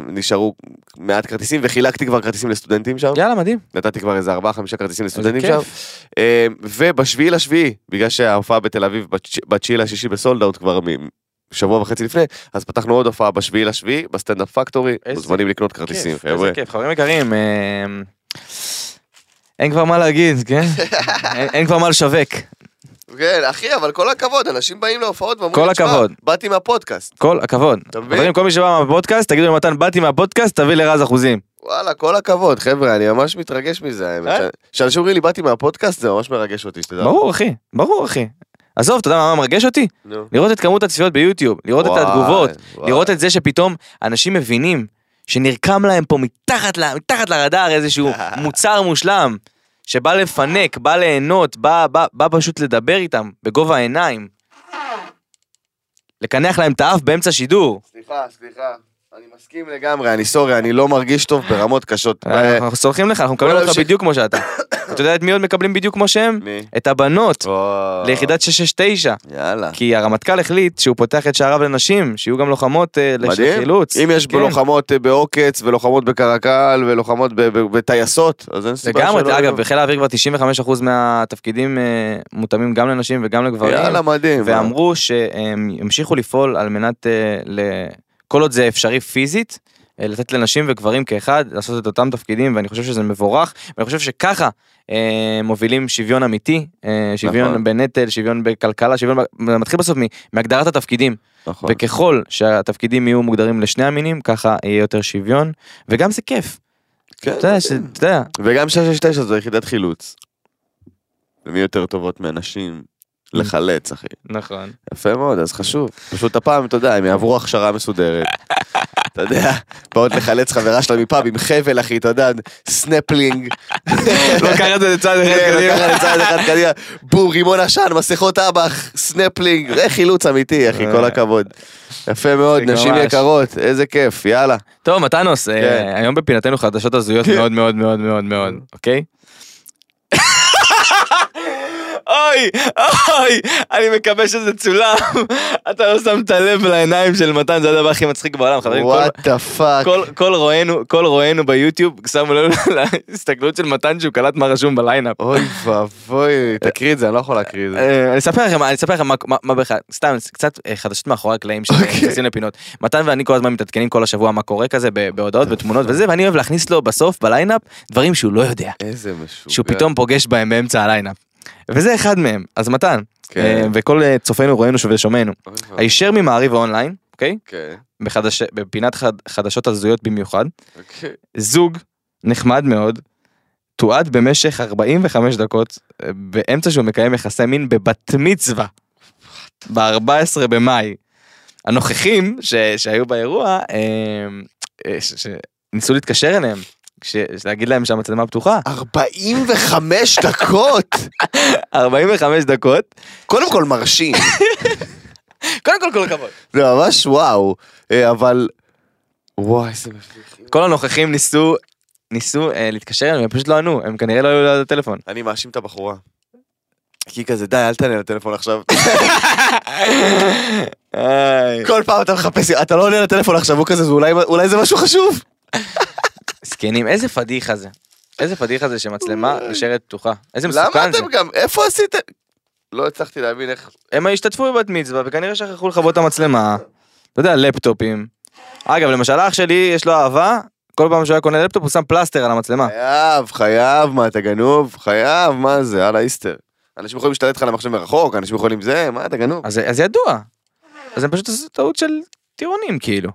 S2: נשארו מעט כרטיסים, וחילקתי כבר כרטיסים לסטודנטים שם.
S3: יאללה, מדהים.
S2: נתתי כבר איזה ארבעה, חמישה כרטיסים לסטודנטים
S3: כיף.
S2: שם. אה, ובשביעי לשביעי, בגלל שההופעה בתל אביב בתש- בתשיעי לשישי בסולד אאוט כבר מ- שבוע וחצי לפני, אז פתחנו עוד הופעה בשביעי לשביעי, בסטנדאפ פקטורי,
S3: איזה
S2: מוזמנים לקנות כרטיסים,
S3: כיף,
S2: חבר'ה.
S3: איזה כיף, חברים יקרים, אה, אין כבר מה להגיד, כן? אין- אין כבר מה לשווק.
S2: כן, אחי, אבל כל הכבוד, אנשים באים להופעות ואומרים,
S3: כל
S2: "תשמע,
S3: הכבוד."
S2: באתי מהפודקאסט,
S3: כל הכבוד.
S2: אתה מבין?
S3: חברים, כל מי שבא מהפודקאסט, תגידו למתן, באתי מהפודקאסט, תביא לרז אחוזים.
S2: וואלה, כל הכבוד, חבר'ה, אני ממש מתרגש מזה, האמת.
S3: אה?
S2: ש- כשאנשים אומרים לי, באתי מהפודקאסט, זה ממש מרגש אותי, שתדע.
S3: ברור, אחי, ברור, אחי. עזוב, אתה יודע מה מרגש אותי?
S2: נו.
S3: לראות את כמות הצפיות ביוטיוב, לראות את
S2: וואי,
S3: התגובות,
S2: וואי.
S3: לראות את זה שפתאום אנשים מבינים שנרקם להם פה מתחת, ל- מתחת לרדאר איזשהו מוצר מושלם, שבא לפנק, בא ליהנות, בא, בא, בא פשוט לדבר איתם בגובה העיניים. לקנח להם את האף באמצע שידור.
S2: סליחה, סליחה, אני מסכים לגמרי, אני סורי, אני לא מרגיש טוב ברמות קשות. אה,
S3: אנחנו סולחים לך, אנחנו מקבלים אותך
S2: להמשיך.
S3: בדיוק כמו שאתה. אתה יודע את מי עוד מקבלים בדיוק כמו שהם?
S2: מי?
S3: את הבנות
S2: וואו.
S3: ליחידת 669.
S2: יאללה.
S3: כי הרמטכ"ל החליט שהוא פותח את שעריו לנשים, שיהיו גם לוחמות אה, לש-
S2: מדהים.
S3: לחילוץ.
S2: אם יש
S3: כן.
S2: לוחמות אה, בעוקץ ולוחמות בקרקל ולוחמות ב- ב- בטייסות, אז אין סיבה שלא...
S3: לגמרי, אגב,
S2: יהיו.
S3: בחיל האוויר כבר 95% מהתפקידים אה, מותאמים גם לנשים וגם לגברים.
S2: יאללה, מדהים.
S3: ואמרו שהם ימשיכו לפעול על מנת, אה, ל- כל עוד זה אפשרי פיזית, אה, לתת לנשים וגברים כאחד לעשות את אותם תפקידים, ואני חושב שזה מבורך, ואני חושב שככה אה, מובילים שוויון אמיתי, אה,
S2: נכון.
S3: שוויון בנטל, שוויון בכלכלה, שוויון, ב- זה מתחיל בסוף מ- מהגדרת התפקידים.
S2: נכון.
S3: וככל שהתפקידים יהיו מוגדרים לשני המינים, ככה יהיה יותר שוויון, וגם זה כיף.
S2: כן,
S3: אתה יודע, ש-
S2: מדהים.
S3: אתה יודע,
S2: וגם 669 זו יחידת חילוץ. ומי יותר טובות מהנשים? לחלץ, אחי.
S3: נכון.
S2: יפה מאוד, אז חשוב. פשוט הפעם, אתה יודע, הם יעברו הכשרה מסודרת. אתה יודע, באות לחלץ חברה שלה מפאב עם חבל, אחי, אתה יודע, סנפלינג.
S3: לקח לא את זה לצד אחד
S2: כן,
S3: קדימה.
S2: לקח לצד אחד קדימה, בום, רימון עשן, מסכות אב"ח, סנפלינג, זה חילוץ אמיתי, אחי, כל הכבוד. יפה מאוד,
S3: מצחיק
S2: נשים
S3: אה. ממש.
S2: יקרות, איזה כיף, יאללה.
S3: טוב, מתנוס, אה,
S2: כן.
S3: היום בפינתנו חדשות הזויות מאוד מאוד מאוד מאוד מאוד, אוקיי? אוי, אוי, אני מקווה שזה צולם. אתה לא שמת לב לעיניים של מתן, זה הדבר הכי מצחיק בעולם, חברים. כל-
S2: וואט דה פאק.
S3: כל- כל רואינו, כל רואינו ביוטיוב, שמו לב להסתכלות של מתן שהוא קלט מה רשום בליינאפ.
S2: אוי ואבוי, תקריא את זה, אני לא יכול להקריא את זה.
S3: אה, אני אספר לכם, אני אספר לכם מה- מה- מה בכלל, סתם קצת אה, חדשות מאחורי הקלעים שנכנסים לפינות. מתן ואני כל הזמן מתעדכנים כל השבוע מה קורה כזה ב- בהודעות ותמונות וזה, ואני אוהב להכניס לו בסוף בליינאפ דברים שהוא לא יודע,
S2: איזה משוגע.
S3: שהוא פתאום פוגש בהם באמצע הליינאפ. וזה אחד מהם, אז מתן, אה,
S2: כן.
S3: וכל אה, צופינו רואינו ושומענו,
S2: אוי ואבוי.
S3: הישר ממעריב האונליין, אוקיי?
S2: כן,
S3: בחדש- בפינת חד- חדשות הזויות במיוחד,
S2: אוקיי.
S3: זוג נחמד מאוד, תועד במשך 45 דקות, אה, באמצע שהוא מקיים יחסי מין בבת מצווה, ב-14 במאי. הנוכחים ש... שהיו באירוע, אה, אה, ש... ש... ניסו להתקשר אליהם, ש... להגיד להם שהמצלמה פתוחה.
S2: 45 דקות!
S3: 45 דקות,
S2: קודם כל מרשים.
S3: קודם כל כל הכבוד.
S2: זה ממש וואו. אה, אבל... וואי, איזה מביך.
S3: כל הנוכחים ניסו, ניסו אה, להתקשר אליהם, הם פשוט לא ענו, הם כנראה לא היו ליד הטלפון.
S2: אני מאשים את הבחורה. כי היא כזה, די, אל תענה לטלפון עכשיו. כל פעם אתה מחפש, אתה לא עונה לטלפון עכשיו, הוא כזה, "זה אולי- אולי זה משהו חשוב.
S3: זקנים, איזה פדיחה זה. איזה פדיחה זה שמצלמה נשארת פתוחה. איזה
S2: למה
S3: מסוכן זה.
S2: אתם גם, איפה עשיתם? לא הצלחתי להבין איך...
S3: הם השתתפו בבת מצווה וכנראה שכחו לכבות את המצלמה. אתה יודע, לפטופים. אגב, למשל אח שלי יש לו אהבה, כל פעם שהוא היה קונה לפטופ הוא שם פלסטר על המצלמה.
S2: חייב, חייב, מה אתה גנוב? חייב, מה זה, על האיסטר. אנשים יכולים להשתלט לך על המחשב מרחוק, אנשים יכולים זה, מה אתה גנוב?
S3: אז אז ידוע. אז הם פשוט עשו טעות של טירונים כאילו.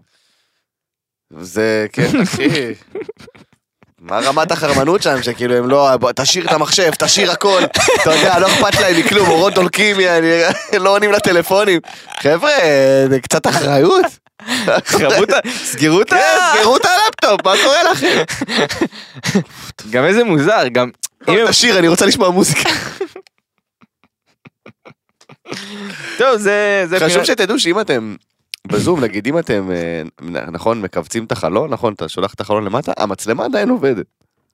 S2: זה, כן, אחי. מה רמת החרמנות שם, שכאילו הם לא, בוא, תשאיר את המחשב, תשאיר הכל, אתה יודע, לא אכפת להם מכלום, אורות דולקים, יעני, לא עונים לטלפונים. חבר'ה, זה קצת אחריות.
S3: סגרו את ה- סגרו את ה...
S2: כן, סגרו את הלפטופ, מה קורה לכם?
S3: גם איזה מוזר, גם... אם הם-
S2: תשאיר, אני רוצה לשמוע מוזיקה.
S3: טוב, זה... זה
S2: חשוב
S3: פינות-
S2: שתדעו שאם אתם בזום, נגיד אם אתם, אה, נ- נכון, מכווצים את החלון, נכון, אתה שולח את החלון למטה, המצלמה עדיין עובדת.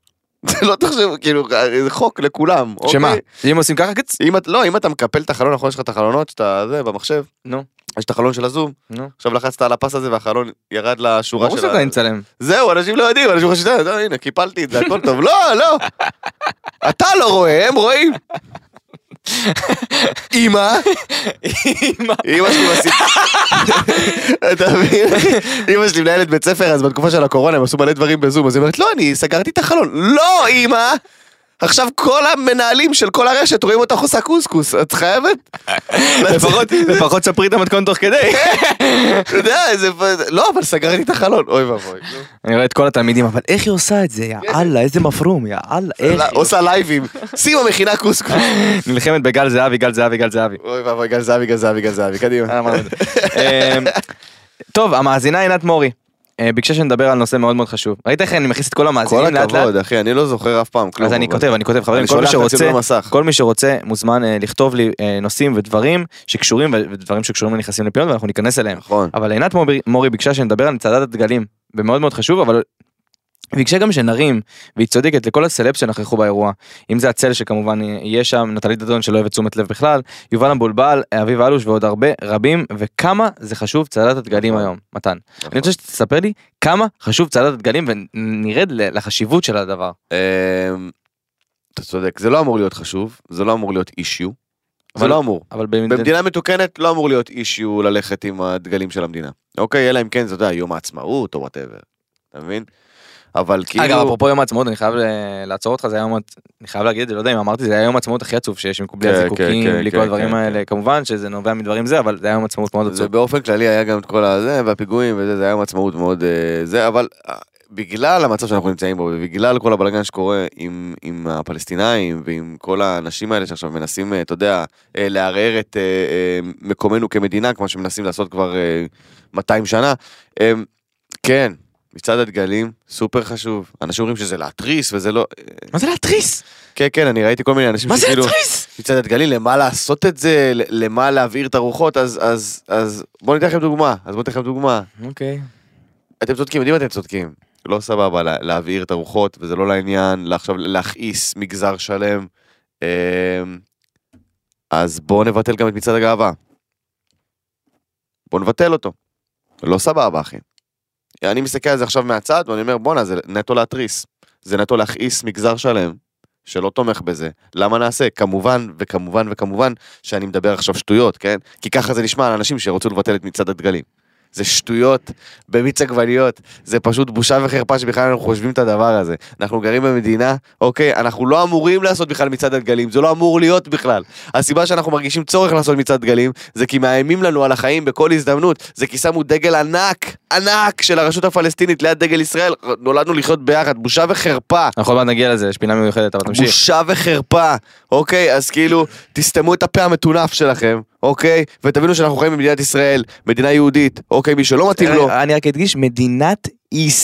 S2: זה לא תחשבו, כאילו, זה חוק לכולם.
S3: שמה?
S2: אוקיי?
S3: אם עושים ככה קצ...
S2: אם את, לא, אם אתה מקפל את החלון, נכון, יש לך את החלונות שאתה, זה, במחשב.
S3: נו.
S2: יש את החלון של הזום,
S3: נו.
S2: עכשיו לחצת על הפס הזה והחלון ירד לשורה
S3: ברור
S2: של
S3: שאתה נצלם.
S2: זהו, אנשים לא יודעים, אנשים חושבים, "אה, לא, הנה, קיפלתי את זה, הכל טוב. לא, לא. אתה לא רואה, הם רואים. אמא, אמא שלי מסיתה. אתה מבין? אמא שלי מנהלת בית ספר, אז בתקופה של הקורונה הם עשו מלא דברים בזום, אז היא אומרת, לא, אני סגרתי את החלון. לא, אמא! עכשיו כל המנהלים של כל הרשת רואים אותך עושה קוסקוס, את חייבת?
S3: לפחות, לפחות ספרי את המתכון תוך כדי.
S2: כן. אתה יודע, איזה... לא, אבל סגרתי את החלון, אוי ואבוי. נו.
S3: אני רואה את כל התלמידים, אבל איך היא עושה את זה? יא
S2: כן.
S3: אללה, איזה מפרום, יא אללה, איך היא
S2: עושה לייבים. סימה מכינה קוסקוס.
S3: עושה- נלחמת בגל זהבי, גל זהבי, גל זהבי.
S2: אוי ואבוי, גל זהבי, גל זהבי, גל זהבי, קדימה.
S3: אמ, טוב, המאזינה עינת מורי. אה, ביקשה שנדבר על נושא מאוד מאוד חשוב. ראית איך אני מכניס את כל המאזינים
S2: כל
S3: לאט לאט?
S2: הכבוד, אחי, אני לא זוכר אף פעם כלום.
S3: אז אני
S2: אבל-
S3: כותב, אני כותב, חברים,
S2: אני
S3: כל מי
S2: שולח את
S3: שרוצה,
S2: הצילום למסך.
S3: כל מי שרוצה מוזמן אה, לכתוב לי אה, נושאים ודברים שקשורים ו- ודברים שקשורים לנכסים לפינות ואנחנו ניכנס אליהם.
S2: נכון.
S3: אבל עינת מורי, מורי ביקשה שנדבר על צעדת הדגלים, ומאוד מאוד חשוב, אבל היא ביקשה גם שנרים, והיא צודקת לכל הסלב שנכחו באירוע. אם זה הצל שכמובן יהיה שם, נטלי דדון שלא אוהבת תשומת לב בכלל, יובל המבולבל, אביב אלוש ועוד הרבה רבים, וכמה זה חשוב צעדת הדגלים היום, מתן. אני רוצה שתספר לי כמה חשוב צעדת הדגלים ונרד ל- לחשיבות של הדבר.
S2: אמ, אתה צודק, זה לא אמור להיות חשוב, זה לא אמור להיות אישיו. זה
S3: אבל-
S2: לא אמור.
S3: אבל במדינה...
S2: במדינה מתוקנת לא אמור להיות אישיו ללכת עם הדגלים של המדינה. אוקיי, אלא אם כן, זה, אתה יודע, יום העצמאות או וואטאבר. אתה מבין? אבל כאילו...
S3: אגב, אפרופו יום העצמאות, אני חייב אה, לעצור אותך, זה היה יום, העצ- אני חייב להגיד את זה, לא יודע אם אמרתי, זה היה יום העצמאות הכי עצוב שיש עם בלי
S2: כן,
S3: הזיקוקים,
S2: כן,
S3: בלי
S2: כן,
S3: כל
S2: כן,
S3: הדברים
S2: כן.
S3: האלה, כמובן שזה נובע מדברים זה, אבל זה היה יום עצמאות מאוד
S2: זה
S3: עצוב.
S2: באופן כללי היה גם את כל הזה, והפיגועים וזה, זה היה יום עצמאות מאוד אה, זה, אבל אה, בגלל המצב שאנחנו נמצאים בו, ובגלל כל הבלגן שקורה עם, עם הפלסטינאים, ועם כל האנשים האלה שעכשיו מנסים, אה, אתה יודע, אה, לערער את אה, אה, מקומנו כמדינה, כמו שמנסים לעשות כבר אה, 200 שנה, אה, כן. מצעד הדגלים סופר חשוב אנשים אומרים שזה להתריס וזה לא
S3: מה זה להתריס?
S2: כן כן אני ראיתי כל מיני אנשים
S3: מה זה
S2: שכאילו
S3: להתריס?
S2: מצעד הדגלים, למה לעשות את זה, ל- למה להבעיר את הרוחות, אז, אז, אז בואו ניתן לכם דוגמה, אז בואו ניתן לכם דוגמה.
S3: אוקיי.
S2: אתם צודקים, יודעים אתם צודקים. לא סבבה לה, להבעיר את הרוחות, וזה לא לעניין, לה- עכשיו להכעיס מגזר שלם. אמ, אז בואו נבטל גם את מצעד הגאווה. בואו נבטל אותו. לא סבבה, אחי. אני מסתכל על זה עכשיו מהצד, ואני אומר, בואנה, זה נטו להתריס. זה נטו להכעיס מגזר שלם שלא תומך בזה. למה נעשה? כמובן, וכמובן, וכמובן, שאני מדבר עכשיו שטויות, כן? כי ככה זה נשמע על אנשים שרצו לבטל את מצעד הדגלים. זה שטויות במיץ עגבניות, זה פשוט בושה וחרפה שבכלל אנחנו חושבים את הדבר הזה. אנחנו גרים במדינה, אוקיי, אנחנו לא אמורים לעשות בכלל מצעד הדגלים, זה לא אמור להיות בכלל. הסיבה שאנחנו מרגישים צורך לעשות מצעד דגלים, זה כי מאיימים לנו על החיים בכל הזדמנות, זה כי שמו דגל ענק, ענק של הרשות הפלסטינית ליד דגל ישראל, נולדנו לחיות ביחד, בושה וחרפה.
S3: אנחנו עוד מעט נגיע לזה, יש פינה מיוחדת, אבל תמשיך.
S2: בושה וחרפה, אוקיי? אז כאילו, תסתמו את הפה המטונף שלכם, אוקיי? ותבינו שאנחנו חיים במדינת ישראל, מדינה יהודית, אוקיי? מי שלא מתאים לו,
S3: אני רק אדגיש, מדינת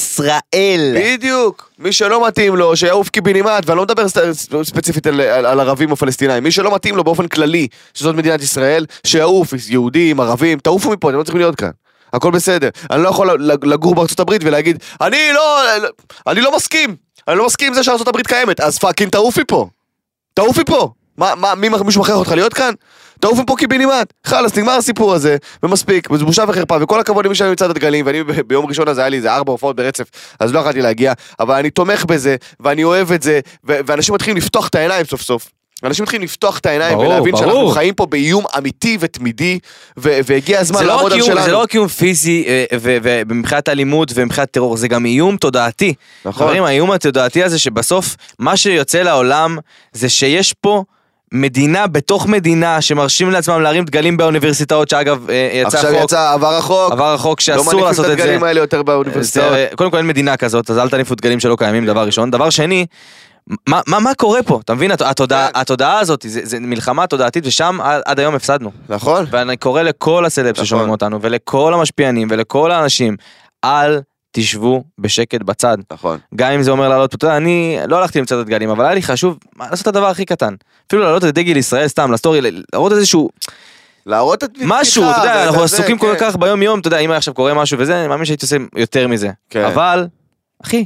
S3: ישראל.
S2: בדיוק, מי שלא מתאים לו, שיעוף קיבינימט, ואני לא מדבר סט- ספציפית על, על, על ערבים או פלסטינאים, מי שלא מתאים לו באופן כללי, שזאת מדינת ישראל, שיעוף, יהודים, ערבים, תעופו מפה, אתם לא צריכים להיות כאן. הכל בסדר. אני לא יכול לג- לגור בארצות הברית ולהגיד, אני לא, אני לא מסכים, אני לא מסכים עם זה שארצות הברית קיימת, אז פאקינג תעוף מפה. תעוף מפה! מה, מה, מי, מישהו מכריח אותך להיות כאן? תעוף מפה קיבינימט! חלאס, נגמר הסיפור הזה, ומספיק, וזה בושה וחרפה, וכל הכבוד למי שהיה מצעד הדגלים, ואני ב- ביום ראשון הזה היה לי איזה ארבע הופעות ברצף, אז לא יכלתי להגיע, אבל אני תומך בזה, ואני אוהב את זה, ו- ואנשים מתחילים לפתוח את העיניים סוף סוף. אנשים מתחילים לפתוח את העיניים
S3: ברור,
S2: ולהבין
S3: ברור.
S2: שאנחנו חיים פה באיום אמיתי ותמידי, ו- והגיע הזמן
S3: זה לא
S2: לעמוד
S3: רק
S2: על
S3: איום-
S2: שלנו.
S3: זה לא רק איום פיזי אה, ו- ו- ומבחינת אלימות ומבחינת טרור, זה גם איום תודעתי.
S2: נכון.
S3: חברים, האיום התודעתי הזה שבסוף מה שיוצא לעולם זה שיש פה מדינה בתוך מדינה שמרשים לעצמם להרים דגלים באוניברסיטאות, שאגב, אה, יצא
S2: עכשיו
S3: חוק,
S2: יצא, עבר החוק,
S3: עבר החוק
S2: לא
S3: שאסור
S2: מניפים
S3: לעשות
S2: את
S3: את זה. אה,
S2: הדגלים האלה יותר באוניברסיטאות.
S3: זה- קודם כל אין מדינה כזאת, אז אל תניפו דגלים שלא קיימים, דבר ראשון. דבר שני, מה, מה, מה קורה פה? אתה מבין? הת- התודעה,
S2: כן.
S3: התודעה הזאת, זה, זה מלחמה תודעתית, ושם עד, עד היום הפסדנו.
S2: נכון?
S3: ואני קורא לכל הסלב
S2: נכון.
S3: ששומעים אותנו, ולכל המשפיענים, ולכל האנשים, אל תשבו בשקט בצד.
S2: נכון.
S3: גם אם זה אומר לעלות, אתה יודע, אני לא הלכתי למצוא את הדגלים, אבל היה לי חשוב מה, לעשות את הדבר הכי קטן. אפילו לעלות את דגל ישראל סתם, לסטורי, ל- להראות איזשהו
S2: להראות את...
S3: משהו, אתה
S2: ואת
S3: יודע, אנחנו
S2: הזה,
S3: עסוקים כל
S2: כן.
S3: כך ביום יום, אתה יודע, אם היה עכשיו קורה משהו וזה, אני מאמין שהייתי עושה יותר מזה.
S2: כן.
S3: אבל, אחי,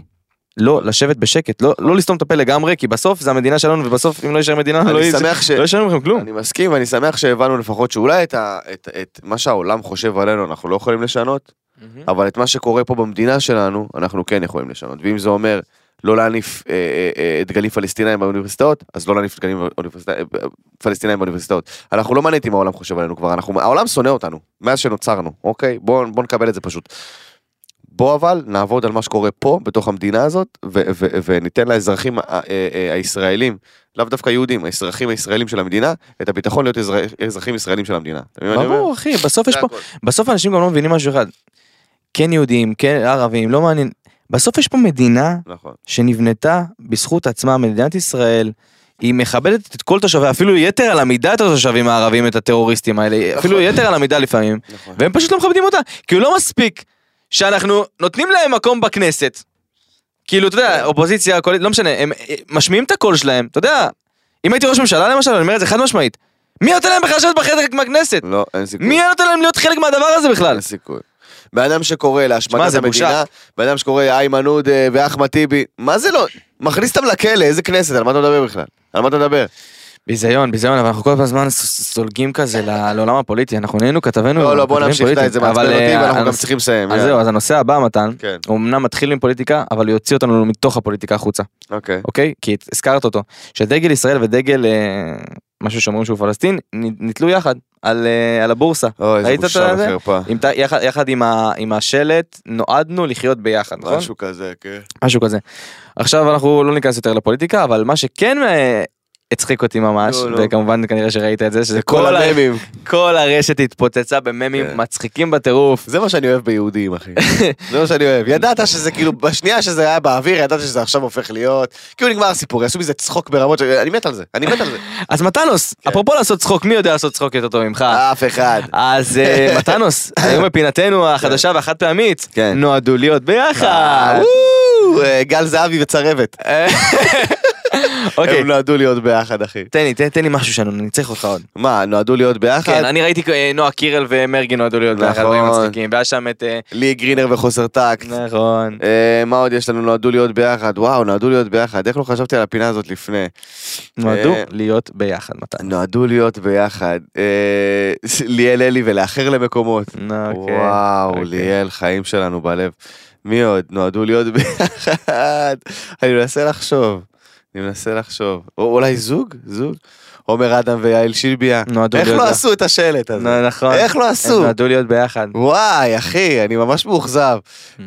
S3: לא לשבת בשקט, לא- לא לסתום את הפה לגמרי, כי בסוף זה המדינה שלנו, ובסוף אם לא יישאר מדינה, לא
S2: אני
S3: יהיה-
S2: שמח ש...
S3: לא ישלם לכם כלום.
S2: אני מסכים, ואני שמח שהבנו לפחות שאולי את, ה, את, את מה שהעולם חושב עלינו אנחנו לא יכולים לשנות, אבל את מה שקורה פה במדינה שלנו אנחנו כן יכולים לשנות. ואם זה אומר לא להניף אה, אה, אה, דגלים פלסטינאים באוניברסיטאות, אז לא להניף דגלים באוניברסיטא- אה, אה, פלסטינאים באוניברסיטאות. אנחנו לא מעניין אותי מה העולם חושב עלינו כבר, אנחנו, העולם שונא אותנו, מאז שנוצרנו, אוקיי? בואו בוא נקבל את זה פשוט. בוא אבל נעבוד על מה שקורה פה, בתוך המדינה הזאת, ו- ו- וניתן לאזרחים ה- ה- ה- הישראלים, לאו דווקא יהודים, האזרחים הישראלים של המדינה, את הביטחון להיות אזר- אזרחים ישראלים של המדינה. אתה מבין מה אני אומר?
S3: ברור, אחי, בסוף יש
S2: זה
S3: פה,
S2: הכל.
S3: בסוף אנשים גם לא מבינים משהו אחד. כן יהודים, כן ערבים, לא מעניין. בסוף יש פה מדינה
S2: נכון.
S3: שנבנתה בזכות עצמה, מדינת ישראל, היא מכבדת את כל תושביה, אפילו יתר על המידה את התושבים הערבים, את הטרוריסטים האלה, אפילו יתר על המידה לפעמים,
S2: נכון.
S3: והם פשוט לא מכבדים אותה, כי הוא לא מספיק שאנחנו נותנים להם מקום בכנסת. כאילו, אתה יודע, אופוזיציה, קואליציה, לא משנה, הם אה, משמיעים את הקול שלהם, אתה יודע, אם הייתי ראש ממשלה למשל, אני אומר את זה חד משמעית, מי נותן להם בכלל לשבת בחלק מהכנסת?
S2: לא, אין סיכוי.
S3: מי היה נותן להם להיות חלק מהדבר הזה בכלל?
S2: אין סיכוי. בן אדם שקורא
S3: שמע,
S2: להשמדת
S3: זה בושה.
S2: המדינה, בן אדם שקורא איימן עודה ואחמד טיבי, מה זה לא? מכניס אותם לכלא, איזה כנסת, על מה אתה מדבר בכלל? על מה אתה מדבר?
S3: ביזיון, ביזיון, אבל אנחנו כל הזמן ס- ס- סולגים כזה ל- לעולם הפוליטי, אנחנו נהיינו כתבנו.
S2: לא, לא, בוא
S3: כתבים
S2: נמשיך, די,
S3: פוליטיים,
S2: זה מעצבן
S3: אבל,
S2: אותי
S3: אה,
S2: ואנחנו גם
S3: הנושא-
S2: צריכים לסיים.
S3: אז
S2: יאללה.
S3: זהו, אז הנושא הבא, מתן,
S2: כן,
S3: הוא אמנם מתחיל עם פוליטיקה, אבל יוציא אותנו מתוך הפוליטיקה החוצה,
S2: אוקיי.
S3: אוקיי? כי הזכרת אותו, שדגל ישראל ודגל, אה, משהו שאומרים שהוא פלסטין, נ- נתלו יחד על אה, על הבורסה.
S2: אוי, איזה
S3: ראית את
S2: בושה
S3: זה?
S2: וחרפה.
S3: עם ת- יחד- יחד עם ה- עם השלט, נועדנו לחיות ביחד, נכון?
S2: משהו כזה, כן.
S3: משהו כזה. עכשיו אנחנו לא ניכנס יותר לפוליטיקה, אבל מה שכן אה, הצחיק אותי ממש,
S2: לא, לא.
S3: וכמובן כנראה שראית את זה, שזה
S2: כל
S3: כל, ה-
S2: הממים.
S3: כל הרשת התפוצצה בממים
S2: כן.
S3: מצחיקים בטירוף.
S2: זה מה שאני אוהב ביהודים, אחי. זה מה שאני אוהב. ידעת שזה כאילו, בשנייה שזה היה באוויר, ידעת שזה עכשיו הופך להיות... כאילו נגמר הסיפור, יעשו מזה צחוק ברמות ש... אני מת על זה, אני מת על זה.
S3: אז מתנוס, אפרופו לעשות צחוק, מי יודע לעשות צחוק יותר טוב ממך?
S2: אף אחד.
S3: אז אה, מתנוס, היום בפינתנו החדשה והחד פעמית,
S2: כן.
S3: נועדו להיות ביחד.
S2: וואו, אה, גל זהבי וצרבת.
S3: אה. אוקיי,
S2: הם נועדו להיות ביחד, אחי.
S3: תן לי, תן- תן לי משהו שלנו, אני צריך אותך עוד.
S2: מה, נועדו להיות ביחד?
S3: כן, אני ראיתי אה, נועה קירל ומרגי נועדו להיות ביחד,
S2: נכון.
S3: דברים מצחיקים, והיה שם את... אה,
S2: לי גרינר וחוסר טקט.
S3: נכון.
S2: אה, מה עוד יש לנו? נועדו להיות ביחד. וואו, נועדו להיות ביחד. איך לא חשבתי על הפינה הזאת לפני?
S3: נועדו
S2: אה,
S3: להיות ביחד, מתן.
S2: נועדו להיות ביחד. אה, ליאל אלי ולאחר למקומות.
S3: אוקיי.
S2: וואו,
S3: אוקיי.
S2: ליאל, חיים שלנו בלב. מי עוד? נועדו להיות ביחד. אני מנסה לחשוב. אני מנסה לחשוב. או, אולי זוג? זוג? עומר אדם ויעל שילביה.
S3: נועדו
S2: איך
S3: להיות
S2: לא
S3: ב-
S2: עשו את השלט הזה?
S3: נו, נכון.
S2: איך לא עשו?
S3: הם נועדו להיות ביחד.
S2: וואי, אחי, אני ממש מאוכזב.
S3: Mm.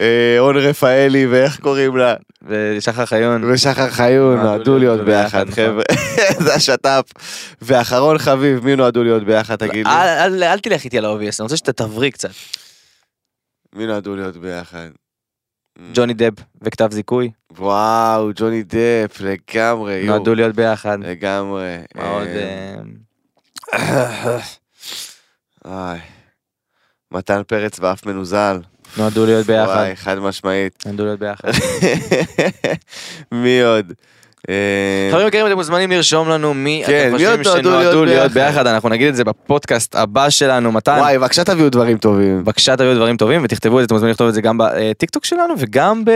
S2: אה, און רפאלי ואיך קוראים לה?
S3: ושחר חיון.
S2: ושחר חיון
S3: נועדו
S2: נועדו להיות
S3: להיות
S2: ביחד,
S3: ביחד,
S2: חבר'ה. זה השת"פ. ואחרון חביב, מי נועדו להיות ביחד, תגיד לי?
S3: אל- אל אל תלך איתי על האובייס, אני רוצה שאתה תבריא קצת.
S2: מי נועדו להיות ביחד?
S3: ג'וני דב וכתב זיכוי,
S2: אה, וואו, ג'וני דפ, לגמרי, יו.
S3: נועדו להיות ביחד.
S2: לגמרי.
S3: מה עוד?
S2: אה,
S3: אה,
S2: איי. מתן פרץ ואף מנוזל.
S3: נועדו להיות ביחד.
S2: וואי, חד משמעית.
S3: נועדו להיות ביחד.
S2: מי עוד? אה,
S3: חברים יקרים, אתם מוזמנים לרשום לנו מי
S2: כן,
S3: אתם
S2: מי עוד
S3: חושבים
S2: נועדו להיות
S3: שנועדו להיות
S2: ביחד?
S3: ביחד, אנחנו נגיד את זה בפודקאסט הבא שלנו, מתן.
S2: וואי, בבקשה תביאו דברים טובים.
S3: בבקשה תביאו דברים טובים ותכתבו את זה, אתם מוזמנים לכתוב את זה גם בטיקטוק שלנו וגם ב...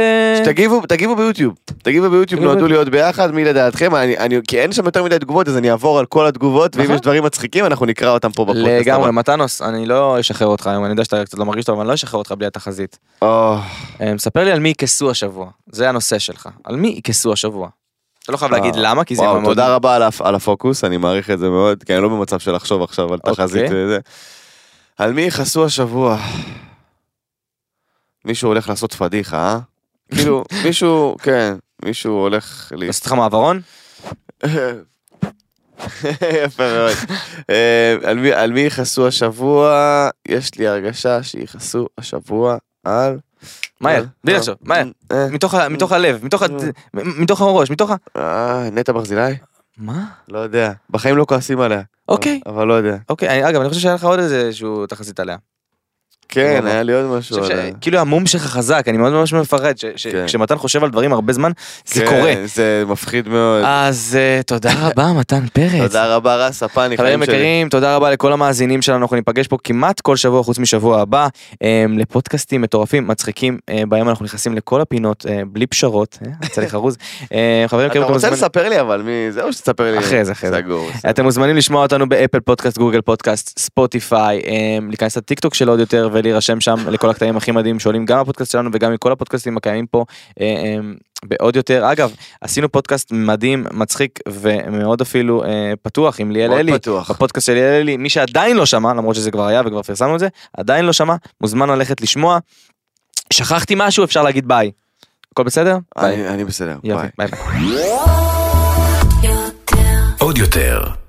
S2: תגיבו, תגיבו ביוטיוב, תגיבו ביוטיוב,
S3: אה. תגיבו
S2: נועדו
S3: ביוטיוב.
S2: להיות ביחד, מי לדעתכם, אני, אני, כי אין שם יותר מדי תגובות, אז אני אעבור על כל התגובות, ואם
S3: נכון.
S2: יש דברים מצחיקים, אנחנו נקרא אותם פה בפודקאסט.
S3: לגמרי,
S2: הבא.
S3: מתנוס, אני לא אשחרר אותך היום, אני יודע שאתה קצת לא מרגיש טוב, אבל אני לא אשחרר אותך בלי התחזית.
S2: אה,
S3: אה, ספר לי על מי יכעסו השבוע, זה הנושא שלך, על מי יכעסו השבוע. אתה לא חייב להגיד למה, כי זה
S2: אה, וואו,
S3: מאוד-
S2: תודה רבה על, הפ- על הפוקוס, אני מעריך את זה מאוד, כי אני לא במצב של לחשוב עכשיו על תחזית
S3: אוקיי.
S2: וזה. על מי יכעסו השבוע? מישהו הולך לעשות פדיחה, אה? כאילו, מישהו, כן, מישהו הולך ל...
S3: לעשות לך מעברון?
S2: יפה מאוד. אה, על מי- על מי יכעסו השבוע? יש לי הרגשה שיכעסו השבוע על...
S3: מהר,
S2: אה,
S3: בלי
S2: אה,
S3: לחשוב, מהר.
S2: אה,
S3: מתוך ה- מתוך הלב, מתוך ה- מתוך הראש, מתוך ה...
S2: אה, נטע ברזילי?
S3: מה?
S2: לא יודע. בחיים לא כועסים עליה.
S3: אוקיי.
S2: אבל לא יודע.
S3: אוקיי, אני- אגב, אני חושב שהיה לך עוד איזה שהוא תחזית עליה.
S2: כן,
S3: לא,
S2: היה לי עוד משהו
S3: חושב
S2: עליה.
S3: שכאילו המום שלך חזק, אני מאוד ממש מפחד, ש- ש-
S2: אה. כן.
S3: כשמתן חושב על דברים הרבה זמן, זה
S2: כן,
S3: קורה.
S2: זה מפחיד מאוד.
S3: אז אה, תודה רבה, מתן פרץ.
S2: תודה רבה רס, הפאני,
S3: חברים
S2: חיים שלי.
S3: יקרים, תודה רבה לכל המאזינים שלנו, אנחנו ניפגש פה כמעט כל שבוע חוץ משבוע הבא, אה, לפודקאסטים מטורפים, מצחיקים, אה, בהם אנחנו נכנסים לכל הפינות, אה, בלי פשרות, אה, יצא לי חרוז. אה, חברים
S2: אתה
S3: יקרים, אתם
S2: רוצה
S3: מוזמנים-
S2: לספר לי אבל מי זה או שתספר לי?
S3: אחרי זה, אחרי זה.
S2: סגור.
S3: אתם מוזמנים לשמוע אותנו באפל פודקאסט, גוגל פודקאסט, ספוטיפיי, אה, להיכנס לטיקטוק של עוד יותר ולהירשם שם לכל הקטעים הכי מדהים שעולים גם בפודקאסט שלנו וגם מכל הפודקאסטים הקיימים פה אה, אה, בעוד יותר. אגב, עשינו פודקאסט מדהים, מצחיק ומאוד אפילו אה, פתוח עם ליאל
S2: מאוד
S3: אלי.
S2: פתוח.
S3: נכון. בפודקאסט של ליאל אלי, מי שעדיין לא שמע, למרות שזה כבר היה וכבר פרסמנו את זה, עדיין לא שמע, מוזמן ללכת לשמוע. שכחתי משהו, אפשר להגיד ביי. הכל בסדר? ביי.
S2: אני אני בסדר.
S3: יופי,
S2: ביי.
S3: ביי ביי.
S1: עוד יותר,